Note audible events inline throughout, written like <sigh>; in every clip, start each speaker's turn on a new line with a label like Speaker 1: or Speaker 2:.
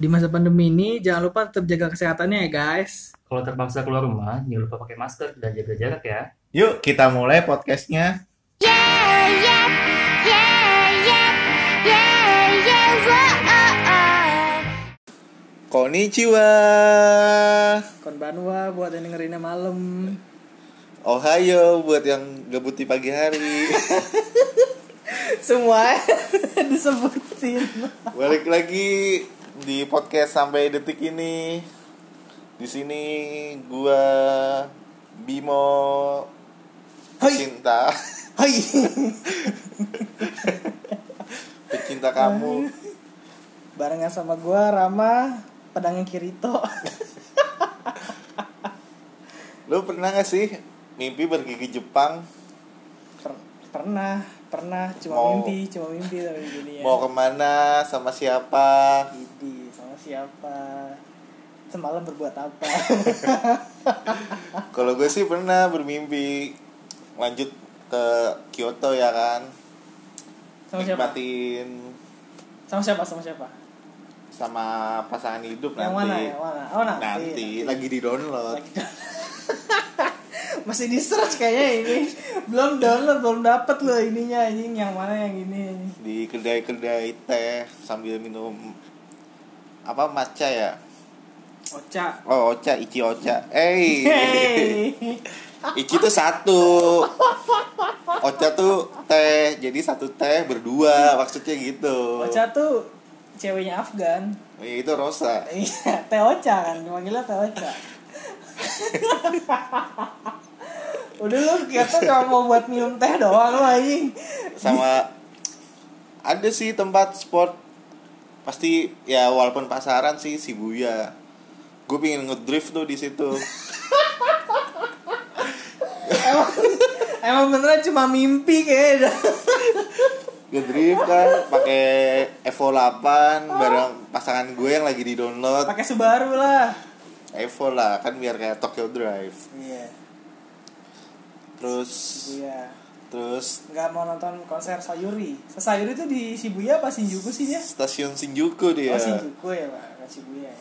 Speaker 1: di masa pandemi ini jangan lupa tetap jaga kesehatannya ya guys.
Speaker 2: Kalau terpaksa keluar rumah, jangan lupa pakai masker dan jaga jarak ya.
Speaker 3: Yuk kita mulai podcastnya.
Speaker 4: Yeah, yeah, yeah, yeah, yeah, yeah, whoa, oh, oh.
Speaker 3: Konnichiwa.
Speaker 1: Konbanwa buat yang dengerinnya malam. <laughs>
Speaker 3: Ohio buat yang gabut di pagi hari. <laughs>
Speaker 1: Semua ya, <laughs> disebutin.
Speaker 3: Balik lagi di podcast sampai detik ini. Di sini gua Bimo cinta
Speaker 1: Hai.
Speaker 3: <laughs> pecinta kamu
Speaker 1: Barengan sama gua Rama, pedangnya Kirito. <laughs>
Speaker 3: lu pernah gak sih mimpi pergi ke Jepang
Speaker 1: Per- pernah, pernah cuma
Speaker 3: Mau-
Speaker 1: mimpi, cuma mimpi tapi gini ya.
Speaker 3: mau kemana sama siapa
Speaker 1: Idi, sama siapa? Semalam berbuat
Speaker 3: <laughs>
Speaker 1: apa?
Speaker 3: kalau gue sih pernah bermimpi lanjut ke Kyoto ya kan
Speaker 1: sama siapa?
Speaker 3: nikmatin
Speaker 1: Sama siapa? Sama siapa?
Speaker 3: sama pasangan hidup
Speaker 1: Yang mana?
Speaker 3: nanti
Speaker 1: Yang mana? Oh, nanti.
Speaker 3: nanti lagi di download
Speaker 1: Lagi- <laughs> Masih di search kayaknya ini. Belum download, belum dapet loh ininya anjing yang mana yang ini.
Speaker 3: di kedai-kedai teh sambil minum apa matcha ya
Speaker 1: Oca.
Speaker 3: oh ocha ichi ocha eh
Speaker 1: Hey. <laughs>
Speaker 3: Ichi tuh satu Ocha tuh teh Jadi satu teh berdua Maksudnya gitu
Speaker 1: Oca tuh ceweknya Afgan.
Speaker 3: Iya, Itu Rosa
Speaker 1: Iya, Teh Oca kan, dipanggilnya Teh Oca. <laughs> Udah lu kata cuma mau buat minum teh doang lu anjing.
Speaker 3: Sama Ada sih tempat sport Pasti ya walaupun pasaran sih Shibuya Gue pengen ngedrift tuh di situ
Speaker 1: Emang beneran cuma mimpi kayaknya. <laughs>
Speaker 3: Ngedrift kan pakai Evo 8 Bareng pasangan gue yang lagi di download
Speaker 1: Pakai Subaru lah.
Speaker 3: Evo lah kan biar kayak Tokyo Drive
Speaker 1: Iya,
Speaker 3: Terus
Speaker 1: Shibuya.
Speaker 3: Terus
Speaker 1: Nggak mau nonton konser Sayuri. Sayuri tuh di Shibuya apa Shinjuku sih dia?
Speaker 3: stasiun Shinjuku dia
Speaker 1: Oh Shinjuku ya pak, nggak Shibuya ya.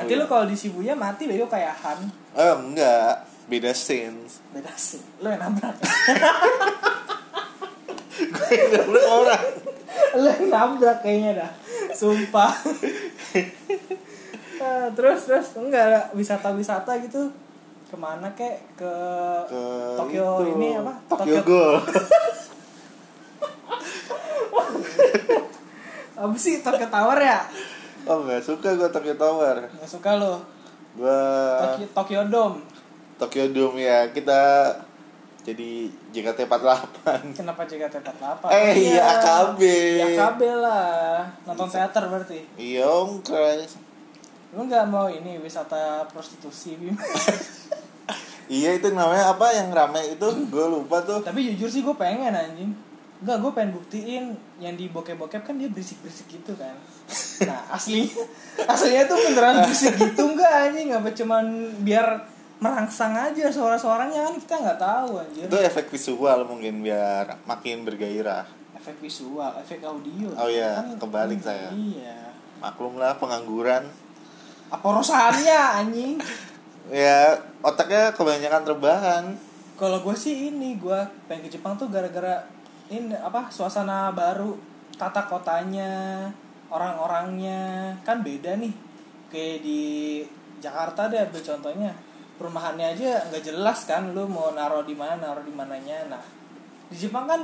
Speaker 1: Nanti
Speaker 3: Oh, iya.
Speaker 1: lu kalau di Shibuya mati bego kayak Han.
Speaker 3: Eh enggak, beda scenes.
Speaker 1: Beda sih, lu yang
Speaker 3: <laughs>
Speaker 1: nabrak.
Speaker 3: Beda orang.
Speaker 1: lu yang nabrak kayaknya dah sumpah
Speaker 3: <laughs>
Speaker 1: Ah, terus terus enggak ada wisata-wisata gitu kemana kek ke,
Speaker 3: Ke
Speaker 1: Tokyo
Speaker 3: itu,
Speaker 1: ini apa
Speaker 3: Tokyo Ghoul. <laughs>
Speaker 1: apa sih Tokyo Tower ya
Speaker 3: <laughs> oh enggak suka gua Tokyo Tower.
Speaker 1: nggak suka lo
Speaker 3: Gua
Speaker 1: Tokyo, Tokyo Dome
Speaker 3: Tokyo Dome ya. Kita jadi JKT48.
Speaker 1: kenapa JKT48
Speaker 3: Eh, iya, AKB.
Speaker 1: Iya, AKB lah nonton teater berarti
Speaker 3: <laughs> Iya, Om Kres.
Speaker 1: lu nggak mau ini wisata prostitusi
Speaker 3: <laughs>
Speaker 1: Bim
Speaker 3: Iya itu namanya apa yang rame itu gua lupa tuh.
Speaker 1: tapi jujur sih gue pengen anjing Enggak, gue pengen buktiin yang di bokep-bokep kan dia berisik-berisik gitu kan
Speaker 3: <laughs>
Speaker 1: Nah, aslinya Aslinya tuh beneran berisik gitu enggak anjing Apa cuman biar merangsang aja suara-suaranya kan kita nggak tahu anjir
Speaker 3: Itu efek visual mungkin biar makin bergairah.
Speaker 1: Efek visual, efek audio Kan
Speaker 3: Oh iya, kebalik saya.
Speaker 1: Iya
Speaker 3: Maklumlah pengangguran.
Speaker 1: Apa rosannya anjing
Speaker 3: <laughs> Ya otaknya kebanyakan rebahan.
Speaker 1: Kalau gue sih ini, gue pengen ke Jepang tuh gara-gara ini apa suasana baru, tata kotanya, orang-orangnya kan beda nih. Kayak di Jakarta deh, ambil contohnya perumahannya aja nggak jelas kan, lu mau naruh di mana, naruh di mananya. Nah, di Jepang kan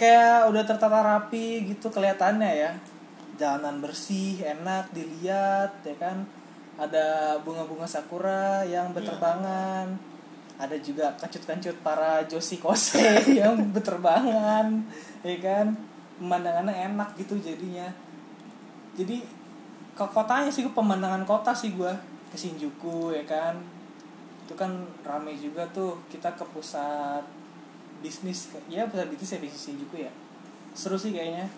Speaker 1: kayak udah tertata rapi gitu kelihatannya ya. Jalanan bersih, enak dilihat, ya kan. Ada bunga-bunga sakura yang berterbangan ada juga kancut-kancut para Joshi Kose <laughs> yang berterbangan ya kan pemandangannya enak gitu jadinya jadi ke kotanya sih gua, pemandangan kota sih gua ke Shinjuku ya kan itu kan rame juga tuh kita ke pusat bisnis ya pusat bisnis ya bisnis Shinjuku ya seru sih kayaknya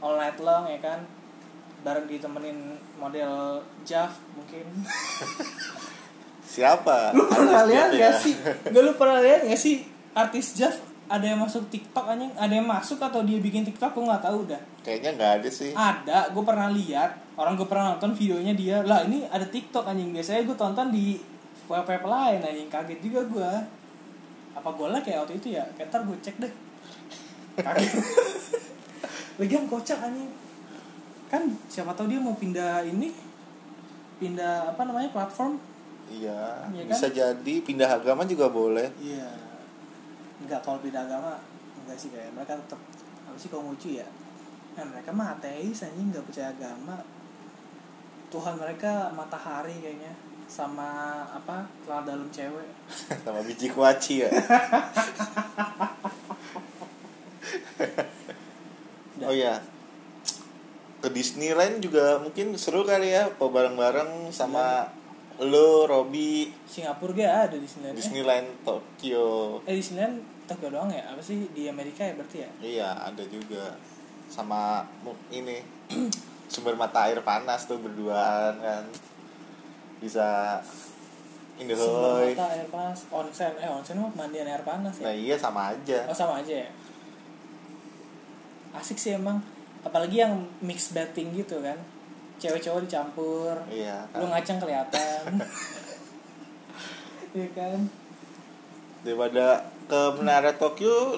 Speaker 1: all night long ya kan bareng ditemenin model Jav mungkin
Speaker 3: Siapa?
Speaker 1: lu pernah
Speaker 3: Artis
Speaker 1: lihat
Speaker 3: dia
Speaker 1: gak
Speaker 3: ya?
Speaker 1: sih gak lu pernah lihat gak sih artis Jav ada yang masuk TikTok anjing ada yang masuk atau dia bikin TikTok gue nggak tahu udah
Speaker 3: Kayaknya nggak ada sih.
Speaker 1: ada gue pernah lihat orang gue pernah nonton videonya dia lah ini ada TikTok anjing biasanya gue tonton di web-web lain anjing kaget juga gue apa gue lag ya waktu itu ya Ntar gue cek deh kaget Lagian kocak anjing kan siapa tahu dia mau pindah ini pindah apa namanya platform
Speaker 3: Iya.
Speaker 1: Iya kan?
Speaker 3: Bisa jadi pindah agama juga boleh.
Speaker 1: iya nggak kalau beda agama enggak sih kayak mereka tetap apa sih Konghucu ya nah, mereka mah ateis anjing nggak percaya agama Tuhan mereka matahari kayaknya sama apa celana dalam cewek
Speaker 3: <laughs> Sama biji kuaci
Speaker 1: <laughs>
Speaker 3: ya.
Speaker 1: Udah.
Speaker 3: Oh iya. Ke Disneyland juga mungkin seru kali ya, kok bareng-bareng sama
Speaker 1: Iya.
Speaker 3: lo, Robby,
Speaker 1: Singapura gak ada di sini eh,
Speaker 3: Disneyland Tokyo.
Speaker 1: eh di sini Tokyo doang ya apa sih di Amerika ya berarti ya
Speaker 3: Iya, ada juga sama mu- ini <clears throat> sumber mata air panas tuh berduaan kan. Bisa
Speaker 1: Sumber
Speaker 3: Indohoy.
Speaker 1: mata air panas onsen eh onsen mah pemandian air panas ya
Speaker 3: Nah, iya sama aja.
Speaker 1: Oh sama aja ya. Asik sih emang. Apalagi yang mix betting gitu kan. Cewek cowok dicampur.
Speaker 3: Iya.
Speaker 1: Lu
Speaker 3: Kan.
Speaker 1: ngaceng kelihatan. Iya kan.
Speaker 3: Daripada ke Menara Tokyo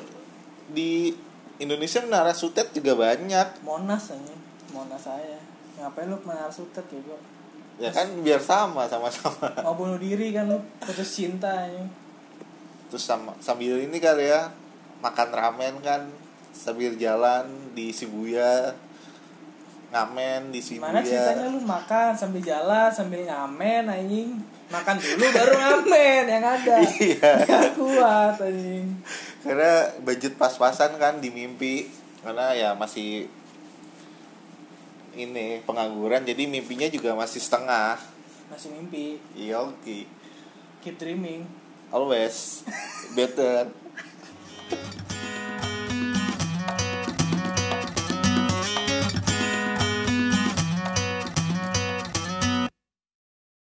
Speaker 3: di Indonesia Menara Sutet juga banyak.
Speaker 1: Monas aja. Monas saya. Ngapain lu menara sutet ya gua?
Speaker 3: Ya kan biar sama sama-sama. <laughs>
Speaker 1: Mau bunuh diri kan lu putus cinta ya.
Speaker 3: Terus sama sambil ini kali ya makan ramen kan sambil jalan di Shibuya ngamen di Shibuya.
Speaker 1: Mana ceritanya lu makan sambil jalan sambil ngamen anjing. Makan dulu baru ngamen yang ada.
Speaker 3: <laughs> Iya.
Speaker 1: Gak kuat anjing.
Speaker 3: Karena budget pas-pasan kan di mimpi karena ya masih ini pengangguran jadi mimpinya juga masih setengah.
Speaker 1: Masih mimpi.
Speaker 3: Iya oke.
Speaker 1: Keep dreaming.
Speaker 3: Always better.